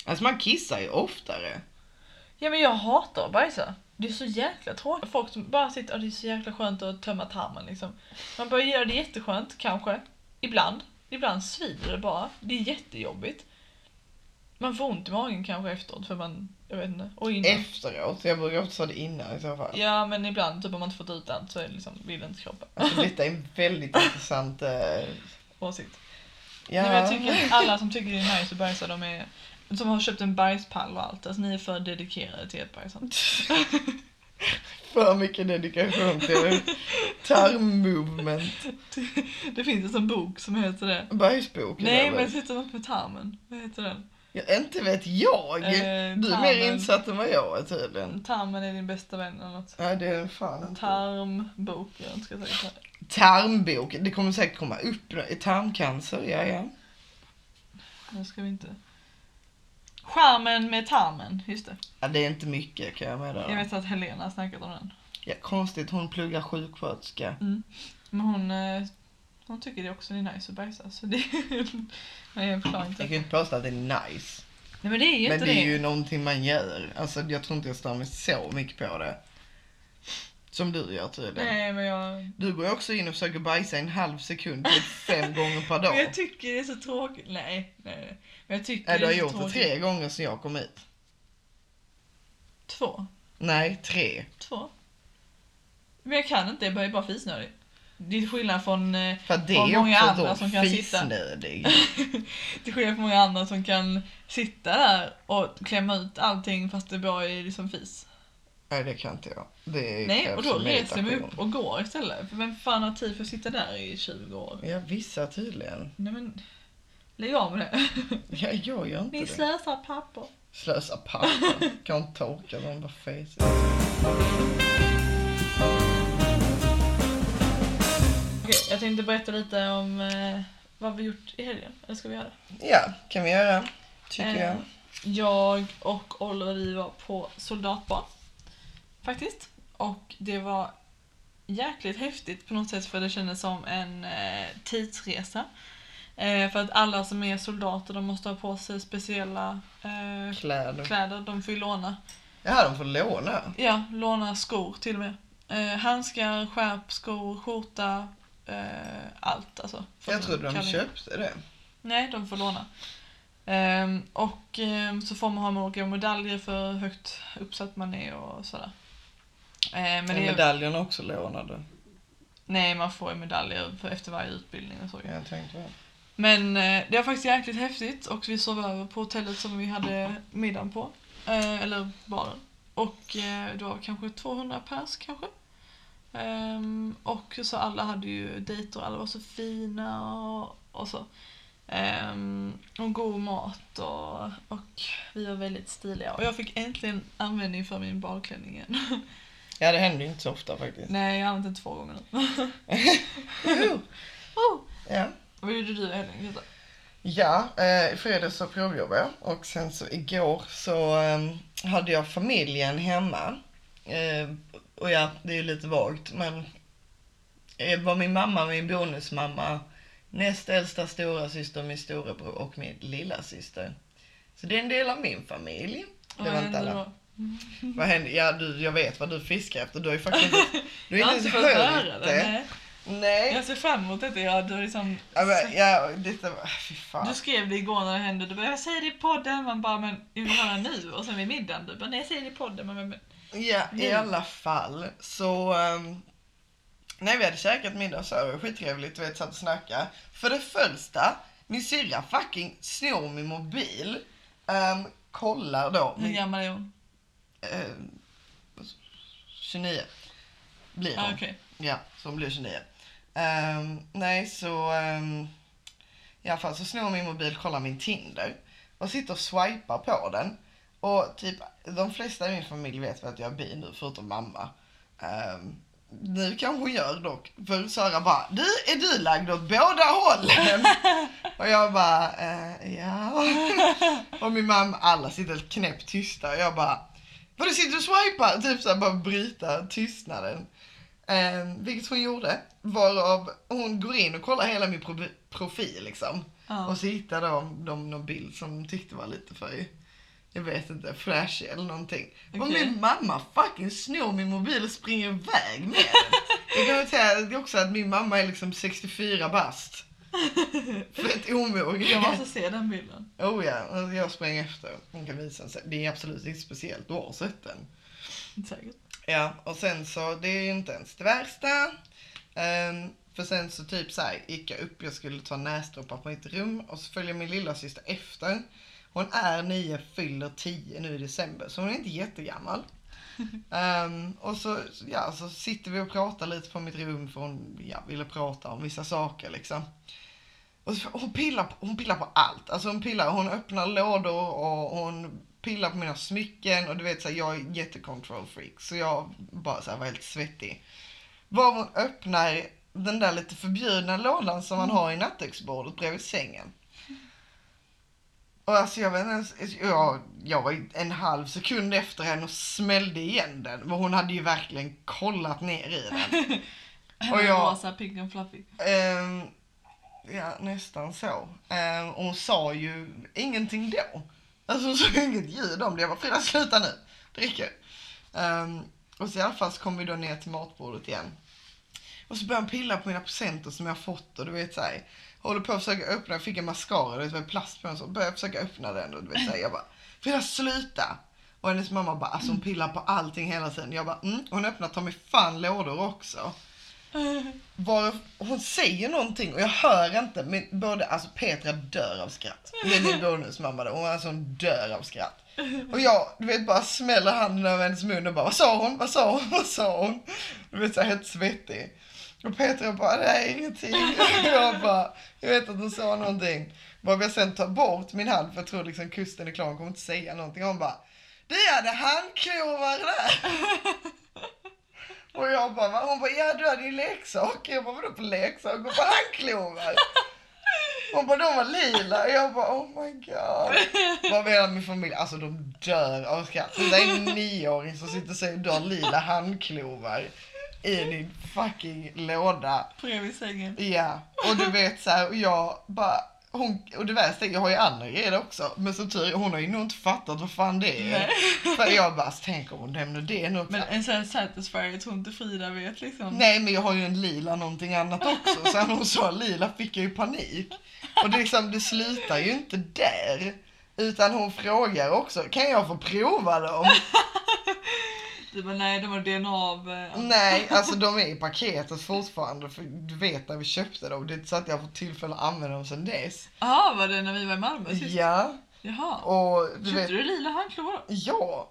Alltså man kissar ju oftare.
Ja men jag hatar att bajsa. Det är så jäkla tråkigt. Folk som bara sitter och det är så jäkla skönt att tömma tarmen liksom. Man bara gör det jätteskönt kanske. Ibland. Ibland svider det bara. Det är jättejobbigt. Man får ont i magen kanske efteråt för man, jag vet inte. Och innan.
Efteråt. Jag brukar ofta ta det innan i så fall.
Ja men ibland, typ om man inte fått ut allt så är det liksom, vill inte kroppen.
Alltså detta är en
[laughs]
väldigt intressant... eh,
Åsikt.
ja.
Nej, men jag tycker att alla som tycker det är nice att bajsa, de är, som har köpt en bajspall och allt, alltså ni är för dedikerade till ert bajsande.
För mycket dedikation till tarmmovement.
[laughs] det finns en sån bok som heter det.
Bajsboken
Nej
eller?
men sitter något med tarmen. Vad heter den?
Ja, inte vet jag.
Eh,
du är mer
tarmen.
insatt än vad jag är tydligen.
Tarmen är din bästa vän eller något.
Nej det är den fan inte.
Tarmbok, jag inte ska säga så här.
Tarmbok. Det kommer säkert komma upp. Tarmcancer, ja ja.
Nu ska vi inte... Charmen med tarmen, just det.
ja det är inte mycket kan jag meddela.
Jag vet att Helena har snackat om den.
Ja, konstigt, hon pluggar sjuksköterska.
Men hon, eh, hon tycker det också är nice att bajsa så det... Nej jag förklarar inte.
Jag kan ju inte påstå att det är nice.
Nej men det är ju
Men
inte
det är
det.
ju någonting man gör. Alltså jag tror inte jag stör mig så mycket på det. Som du gör tydligen.
Nej men jag...
Du går ju också in och försöker bajsa i en halv sekund
[laughs]
typ fem gånger per
Men
dag.
jag tycker det är så tråkigt. Nej, nej, nej. Men jag tycker
Nej, du har
det är så
gjort det
tråkigt.
tre gånger sedan jag kom hit.
Två.
Nej, tre.
Två. Men jag kan inte, jag börjar bara fisnödig. Det är skillnad från... eh,
För det
Och
är
många
också
andra
då
som kan sitta.
fisnödig.
Till skillnad från många andra som kan sitta där och klämma ut allting fast det bara är liksom fis.
Nej, det kan inte jag. Det
Nej, och
krävs
då reser jag mig
meditation.
upp och går istället. För vem fan har tid för att sitta där i 20 år?
Ja, vissa tydligen.
Nej men, lägg av med det.
[laughs] Ja, jag gör inte
Ni
det.
slösar papper.
Slösa papper. Kan inte torka dem på fejset.
Okej, jag tänkte berätta lite om eh, vad vi gjort i helgen. Eller ska vi göra det?
Ja, kan vi göra. Tycker
Eh,
jag.
Jag och Oliver vi var på soldatbarn. Faktiskt. Och det var jäkligt häftigt på något sätt för det kändes som en eh, tidsresa. Eh, för att alla som är soldater de måste ha på sig speciella eh,
Kläder.
kläder. De får ju låna.
Ja, de får låna.
Ja, låna skor till och med. Eh, handskar, skärp, skor, skjorta. Eh, allt alltså.
Jag trodde de
Kallingar.
köpte det.
Nej, de får låna. Ehm, och ehm, så får man ha olika medaljer för hur högt uppsatt man är och sådär. Ehm, men
är
det är,
medaljerna också lånade?
nej, man får ju medaljer för efter varje utbildning och så.
Jag tänkte väl.
Men eh, det var faktiskt jäkligt häftigt och vi sov över på hotellet som vi hade middagen på. Eh, eller baren. Och eh, det var kanske 200 pers kanske. Ehm, och så alla hade ju dejter och alla var så fina och, och så. Ehm, och god mat och, och vi var väldigt stiliga. Och jag fick äntligen användning för min badklänning igen. [laughs]
Ja, det händer ju inte så ofta faktiskt.
Nej, jag har använt den två gånger nu. [laughs] oh.
ja.
Vad gjorde du Elin?
Ja, eh, i fredags så provjobbade jag och sen så igår så eh, hade jag familjen hemma. Eh, och ja, det är ju lite vagt men eh, var min mamma, min bonusmamma, näst äldsta stora syster, min storebror och min lilla syster. Så det är en del av min familj. Det var inte alla. Vad hände? Ja, du, jag vet vad du fiskar
[laughs]
efter. Du har ju faktiskt inte, du har
Jag har
inte
inte
ens
fått höra
hört
det.
det.
nej.
Nej.
Jag ser fram emot detta. Jag, du, har liksom,
Ja, men, ja, detta var... Fy fan.
du skrev det igår när det hände. Du bara, jag säger det i podden. Man bara, men jag vill höra nu. Och sen vid middagen, du bara, nej jag säger det i podden. Men, men, men.
Ja, i
Mm.
alla fall så... Um, nej, vi hade käkat middag och så, det var skittrevligt, du vet, satt och snackade. För det första, min syrra fucking snor min mobil. ehm, kollar då.
Hur
Min,
gammal är hon?
ehm, 29 blir hon.
Ah, okej.
Ja, som blir 29. Ehm, nej, så... ehm, I alla fall så snor min mobil, kollar min Tinder och sitter och swipar på den. Och typ, de flesta i min familj vet väl att jag är bi nu, förutom mamma. Um, nu kanske hon gör dock, för Sara bara du, är du lagd åt båda hållen? [laughs] och jag bara, eh, ja. [laughs] och min mamma, alla sitter helt knäpptysta och jag bara, vadå sitter du och swipar? Typ såhär bara bryta tystnaden. Um, vilket hon gjorde, varav hon går in och kollar hela min pro- profil liksom.
Ja.
Och så hittade de, de någon bild som de tyckte var lite för, jag vet inte, flashig eller någonting. Och
Okej.
min mamma fucking snor min mobil och springer iväg med den. Jag kan väl säga också att min mamma är liksom 64 bast. Fett
Jag
omogen.
måste se den bilden.
Oh ja, och jag sprang efter. Hon kan visa den sen. Det är absolut inte speciellt, du har sett den.
Inte
[laughs]
säkert.
Ja, och sen så, det är ju inte ens det värsta. Ehm, för sen så typ så här gick jag upp, jag skulle ta näsdroppar på mitt rum och så följer min lilla syster efter. Hon är nio, fyller tio nu i december, så hon är inte jättegammal. Ehm, och så, ja, så sitter vi och pratar lite på mitt rum för hon ja, ville prata om vissa saker liksom. Och så, hon, pillar på, hon pillar på allt. Alltså hon, pillar, hon öppnar lådor och hon pillar på mina smycken och du vet så här, jag är jättecontrol freak så jag bara så här, var helt svettig. Var hon öppnar den där lite förbjudna lådan som man har i nattduksbordet bredvid sängen. Och alltså jag vet inte ens, jag, jag var ju en halv sekund efter henne och smällde igen den. Men hon hade ju verkligen kollat ner i den.
Och
jag-
jag... Rosa, pigg och fluffig.
Ehm, ja, nästan så. Ehm, och hon sa ju ingenting då. Alltså [laughs] hon sa inget ljud om det. Jag bara, Frida sluta nu. Dricker. Ehm, och så i alla fall så kom vi då ner till matbordet igen. Och så började han pilla på mina presenter som jag har fått och du vet såhär. Håller på att försöka öppna, jag fick en mascara, du vet med plast på den så började jag försöka öppna den och du vet såhär jag bara Frida sluta! Och hennes mamma bara alltså hon pillar på allting hela tiden. Jag bara mm, hon öppnar ta mig fan lådor också. Var, hon säger någonting och jag hör inte men både, alltså Petra dör av skratt. Det är min bonusmamma då, hon, alltså, hon dör av skratt. Och jag, du vet bara smäller handen över hennes mun och bara vad sa hon, vad sa hon, [laughs] vad sa hon? Du vet såhär helt svettig. Och Petra bara nej ingenting. [laughs] Och jag bara, jag vet att hon sa någonting. Bara jag sen tar bort min hand för jag tror liksom kusten är klar, hon kommer inte säga någonting. Hon bara, du hade handklovar där. Och jag bara, va? hon bara, ja du hade ju leksaker. Jag bara, vadå på leksaker? På handklovar. Hon bara, de var lila. Och jag bara, oh my god. Vad menar min familj? Alltså de dör av skratt. Det där är en nioåring som sitter och säger, du har lila handklovar i din fucking låda.
[laughs] Bredvid sängen.
Ja, och du vet så här, och jag bara, hon, och det värsta är, jag har ju andra grejer också, men som tur är, hon har ju nog inte fattat vad fan det är. [laughs]
Nej.
För jag bara, "Alltså, tänk om hon nämner det nu också.
Men en sån här satisfier, jag tror inte Frida vet liksom.
Nej men jag har ju en lila någonting annat också. Sen hon sa lila fick jag ju panik. Och det, är liksom, det slutar ju inte där. Utan hon frågar också, kan jag få prova dem?
Du bara, nej det var DNA av... eh,
Nej, alltså de är i paketet fortfarande. För du vet när vi köpte dem. Det är inte så att jag har fått tillfälle att använda dem sedan dess.
Jaha, var det när vi var i Malmö sist?
Ja,
Jaha.
och du
Köpte
vet.
du lila handklovar då?
Ja,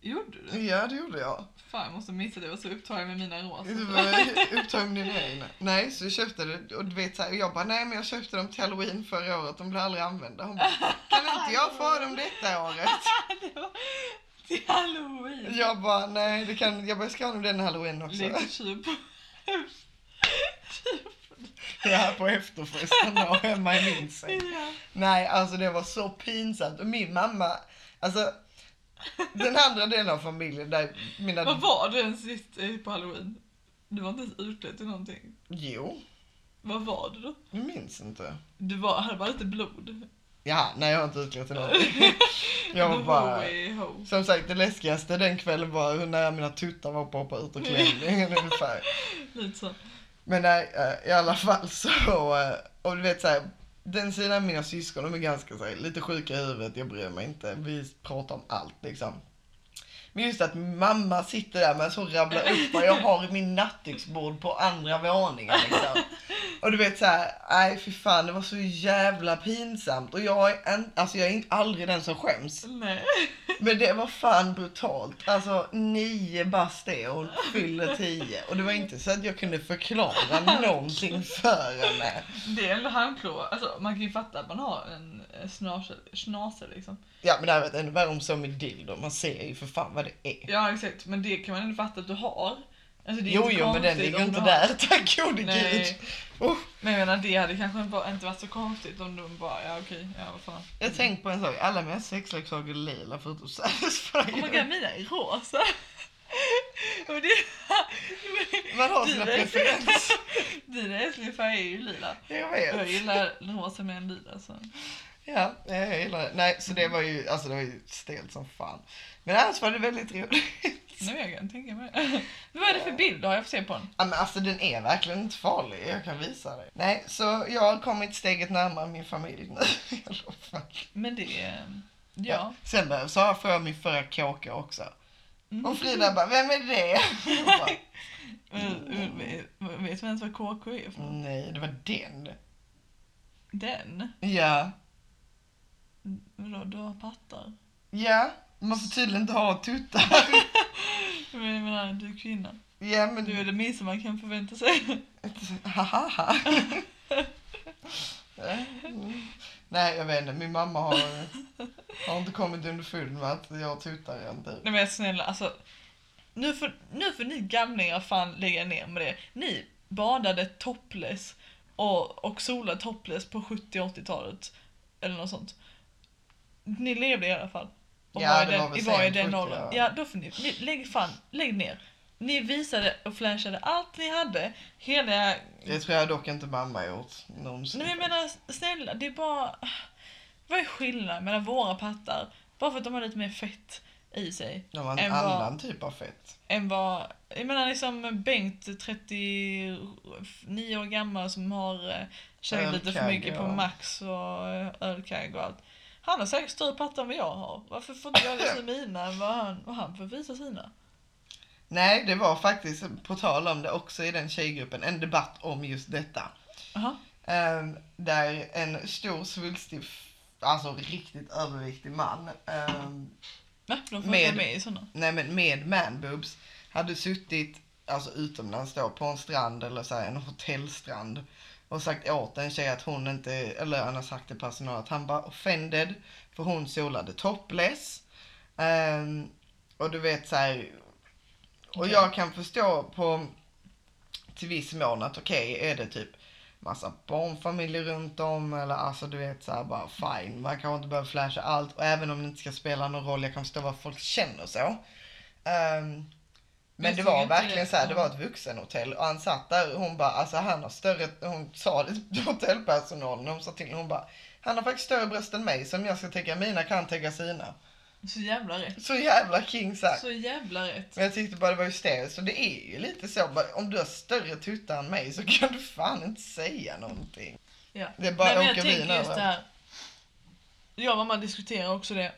Gjorde du? det?
ja det gjorde jag.
Fan, jag måste missa det. Jag var så upptagen med mina
Du
[laughs] rosa.
var Upptömning nej. Nej, så jag köpte det och du vet så här, och jag bara nej men jag köpte dem till halloween förra året, de blir aldrig använda. Hon bara, kan inte jag få ha dem detta året?
det var till halloween.
Jag bara nej, det kan, jag bara, jag ska ha dem den halloween också.
Lekte tjuv på...
Det är här på efterfesten och hemma i min säng. Nej, alltså det var så pinsamt och min mamma, alltså den andra delen av familjen där
Vad
mina,
var du ens sist eh, på halloween? Du var inte ens utklädd till någonting.
jo,
Vad var du då?
jag minns inte.
Du var, hade bara lite blod.
Ja, nej jag har inte utklätt till någonting. [laughs] Jag var
The
bara...
Hoey Ho.
Som sagt, det läskigaste den kvällen var hur nära mina tuttar var på att hoppa ut ur klänningen ungefär.
Lite så.
Men nej, eh, i alla fall så, eh, och du vet så här, den sidan av mina syskon, de är ganska så här, lite sjuka i huvudet, jag bryr mig inte. Vi pratar om allt liksom. Men just att mamma sitter där med så rabblar upp vad jag har i min nattduksbord på andra våningen liksom. Och du vet så här, nej fy fan det var så jävla pinsamt. Och jag är, en, alltså jag är in- aldrig den som skäms.
Nej.
Men det var fan brutalt. Alltså nio bast är hon, fyller tio. Och det var inte så att jag
[laughs]
kunde förklara någonting för henne.
Det är ändå handklovar. Alltså, man kan ju fatta att man har en eh, snase, snase liksom.
Ja men det här vet ännu värre om som i dildo. Man ser ju för fan vad det är.
Ja exakt, men det kan man ändå fatta att du har. Alltså, det är
Jo
inte
jo men den
konstigt
ligger
om
inte
du har-
där, [laughs] tack gode gud.
Nej.
Oh,
Men jag menar det hade kanske bara inte varit så konstigt om de bara, ja okej, ja vad fan.
jag tänkte på en sak, alla mina sexleksaker är lila förutom satisfyer.
Oh my god, mina är rosa. [laughs] Och det...
Man har sina
Du är-
preferenser.
[laughs] Dina älsklingsfärger är ju lila. [laughs]
Jag
Jag
vet.
gillar rosa med en lila så.
Ja, eh, jag gillar det. Nej, så det var ju, alltså det var ju stelt som fan. Men annars var det väldigt roligt.
Nu är jag kan tänka mig det. [laughs] Men Vad är det för bild? Har jag fått se på den?
Ja, men alltså den är verkligen inte farlig, jag kan visa dig. Nej, så jag har kommit steget närmare min familj nu. [laughs] Jag lovar.
Men det... är- Ja.
Sen började- så har jag min förra kåka också.
Mm.
Och Frida bara, vem är det? Jag bara,
[laughs] Men, men, Vet vet du ens vad KK är E? för något?
Nej, det var den.
Den?
Ja,
Vadå, du har pattar?
ja. Man får tydligen inte ha tuttar.
Men jag menar, du är kvinna.
Ja, men
Du är det minsta man kan förvänta sig.
Hahaha. Nej, jag vet inte. Min mamma har, har inte kommit underfund med att jag tutar än typ.
Nej men snälla alltså. Nu får, nu får ni gamlingar fan lägga ner med det. Ni badade topless och, och solade topless på 70 80-talet. Eller något sånt. Ni levde i alla fall. Och
Ja,
var i
det
den,
var väl
var i
sent
den
70,
åldern.
ja.
Ja, då får ni, ni lägg, fan, lägg ner. Ni visade och flashade allt ni hade. Hela
Det tror jag dock inte mamma gjort någonsin.
Nej men jag menar snälla, det är bara... Vad är skillnaden mellan våra pattar? Bara för att de har lite mer fett i sig.
Det var en
än vad-
annan typ av fett.
Än vad... Jag menar liksom Bengt, 39 år gammal, som har eh, käkat lite för
Ölkagge
mycket på
och-
Max och eh, ölkagg och allt. Han har säkert större pattar än vad jag har. Varför får inte jag
[laughs]
visa mina än vad han, vad han får visa sina?
Nej, det var faktiskt, på tal om det också i den tjejgruppen, en debatt om just detta.
Jaha.
Ehm, där en stor svulstig, f- alltså riktigt överviktig man, ehm,
Va? De får
Med-
vara med i sådana.
nej men med manboobs, hade suttit alltså utomlands då på en strand eller så här, en hotellstrand och sagt åt en tjej att hon inte, eller han har sagt till personal att han var offended för hon solade topless. Ehm, och du vet så här, och
Okej.
jag kan förstå på till viss mån att okej är det typ massa barnfamiljer runt om eller alltså du vet så här bara fine man kanske inte behöver flasha allt och även om det inte ska spela någon roll jag kan förstå vad folk känner så. Ehm, Men det
Jag
var
tycker inte
verkligen
det.
så här, det var ett vuxenhotell och han satt där och hon bara, alltså han har större, hon sa det till [laughs] hotellpersonalen, hon sa till hon bara, han har faktiskt större bröst än mig, som jag ska täcka mina kan täcka sina.
Så jävla rätt.
Så jävla king sagt.
Så jävla rätt.
Men jag tyckte bara det var hysteriskt och det är ju lite så, bara, om du har större tuttar än mig så kan du fan inte säga någonting.
Ja.
Det är bara
Nej, men
åker
jag
vin
tänker just det
över.
här. Jag och mamma diskuterade också det.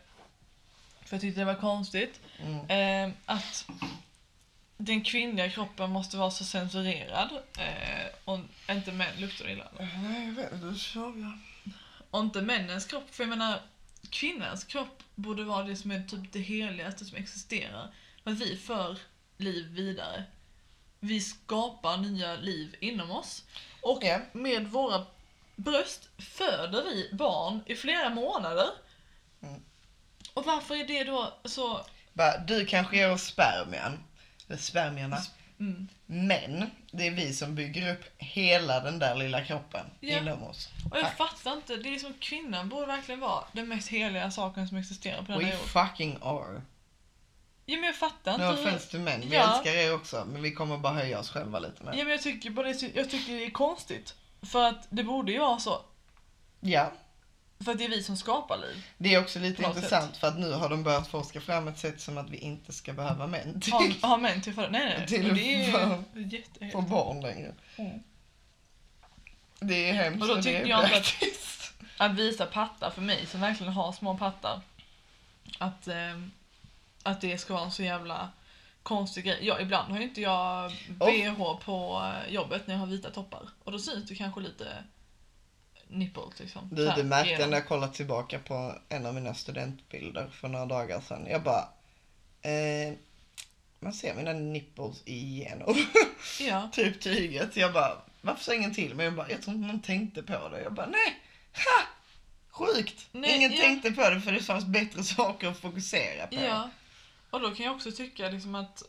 För jag tyckte det var konstigt.
Mm.
Eh, att den kvinnliga kroppen måste vara så censurerad. Eh, och inte män luktar illa.
Nej, jag vet, du sov jag.
Och inte männens kropp. För jag menar, kvinnans kropp borde vara det som är typ det heligaste som existerar. För att vi för liv vidare. Vi skapar nya liv inom oss. Och
Ja.
med våra bröst föder vi barn i flera månader.
Mm.
Och varför är det då så...
Bara, du kanske ger oss spermien. Eller spermierna.
Mm.
Men det är vi som bygger upp hela den där lilla kroppen
Ja.
inom oss.
Och jag
Tack.
fattar inte, det är liksom kvinnan borde verkligen vara den mest heliga saken som existerar på denna
We
jord.
fucking are.
Ja men jag fattar
No
inte hur-
offense to men, vi
Ja.
älskar er också men vi kommer bara höja oss själva lite mer.
Ja, men jag, tycker bara det, jag tycker det är konstigt. För att det borde ju vara så.
Ja.
För att det är vi som skapar
[laughs]
liv.
Det är också lite
På något
intressant för att nu har de börjat forska fram ett sätt som att vi inte ska behöva män typ. till
Har, har män till för Nej, nej.
Till
och det är
fan.
ju
på
jätte...
barn längre.
Mm.
Det är hemskt
Och då
det är
tyckte jag inte att- [laughs]
praktiskt.
Att visa pattar för mig som verkligen har små pattar. Att, eh, att det ska vara en så jävla konstig grej. Ja, ibland har ju inte jag bh på eh, jobbet när jag har vita toppar. Och då syns det kanske lite nipples liksom.
Du,
Så här,
du märkte
genom.
när jag kollade tillbaka på en av mina studentbilder för några dagar sedan. Jag bara... Eh, man ser mina nipples igenom.
Ja.
[laughs] typ tyget. Jag bara, varför sa ingen till mig? Jag bara, jag tror inte någon tänkte på det. Jag bara, nej! Ha! Sjukt!
Nej,
ingen
ja.
tänkte på det för det fanns bättre saker att fokusera på.
Ja, och då kan jag också tycka liksom att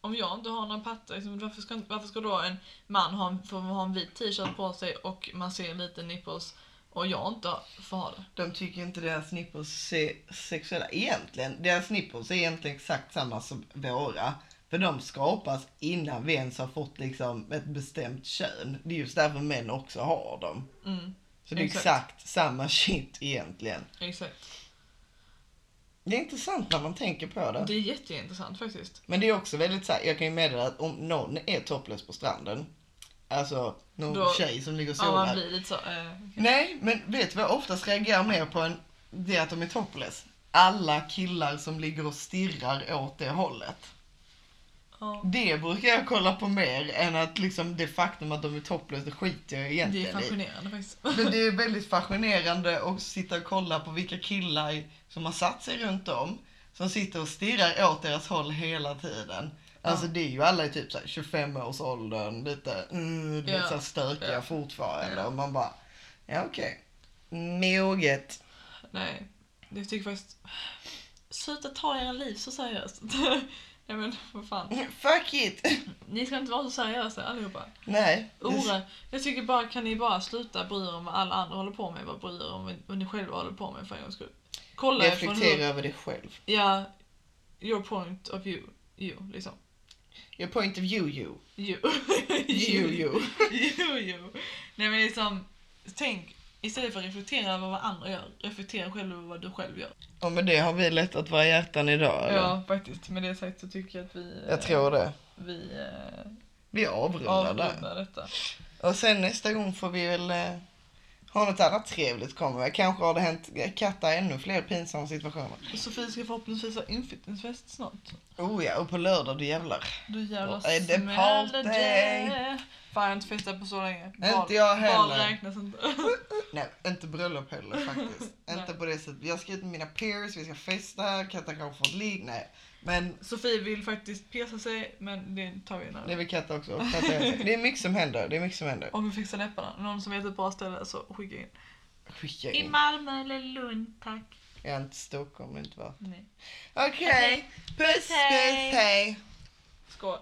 om jag inte har några pattar, liksom, varför, ska, varför ska då en man ha en, få ha en vit t-shirt på sig och man ser lite nipples och jag inte får ha det?
De tycker inte deras nipples är sexuella. Egentligen, deras nipples är egentligen exakt samma som våra. För de skapas innan vi ens har fått liksom ett bestämt kön. Det är just därför män också har dem.
Mm,
Så det är
Exakt.
exakt, samma shit egentligen.
exakt.
Det är intressant när man tänker på det.
Det är jätteintressant faktiskt.
Men det är också väldigt så här, jag kan ju meddela att om någon är topless på stranden, alltså någon
Då-
tjej som ligger och
Ja,
solar.
man blir lite så... Eh,
Nej, men vet du vad jag oftast reagerar mer på än det att de är topless? Alla killar som ligger och stirrar åt det hållet.
ja.
Det brukar jag kolla på mer än att liksom det faktum att de är topless, det skiter jag
Det är
egentligen i.
fascinerande faktiskt. [laughs]
Men det är väldigt fascinerande att sitta och kolla på vilka killar som har satt sig runt om. Som sitter och stirrar åt deras håll hela tiden. Alltså det är ju alla i typ så här 25 års åldern, lite, mm, du vet,
Ja.
så här stökiga
Ja.
fortfarande.
Ja.
Och man bara, ja okej. Moget.
Nej, det tycker jag faktiskt... Sluta ta era liv så seriöst. [laughs] Nej men vad fan.
Fuck it! [laughs]
Ni ska inte vara så seriösa allihopa.
Nej. det-
Ora, jag tycker bara kan ni bara sluta bry er om vad alla andra håller på med, bara bry er om vad ni själva håller på med för en gångs skull. Kolla er från
Reflektera
hur,
över det själv.
ja, your point of view, you liksom.
Your point of view you.
You.
You [laughs] you.
you, you. Nej men liksom, tänk, istället för att reflektera över vad andra gör, reflektera själv över vad du själv gör.
Och med det har vi lättat våra hjärtan idag eller?
Ja, faktiskt. Med det sagt så tycker jag att vi, eh,
Jag tror det.
vi eh,
Vi avrundar där.
avrundar detta.
Och sen nästa gång får vi väl eh, ha något annat trevligt komma med. Kanske har det hänt katter ännu fler pinsamma situationer.
Sofie ska förhoppningsvis ha inflyttningsfest snart.
Oh ja, och på lördag du jävlar.
Du jävla
Då är det
smäller
party.
det. Fan jag har inte festat på så länge.
Inte jag
Barn
heller.
räknas inte. [laughs]
Nej, inte bröllop heller faktiskt.
Nej.
inte på det sättet. Jag ska ut med mina peers, vi ska festa, Katta kanske får ett ligg. Nej, men
Sofie vill faktiskt pesa sig men det tar vi
det
när.
vill Katta också. Och Katta är så- det är mycket som händer. Det är mycket som händer.
Om vi fixar läpparna. Någon som vet ett bra ställe så skicka in.
Skicka
I
in.
Malmö eller Lund tack.
Jag är inte i Stockholm, inte va?
Nej.
Okej, puss, puss,
Puss, hej.
hej.
Skål.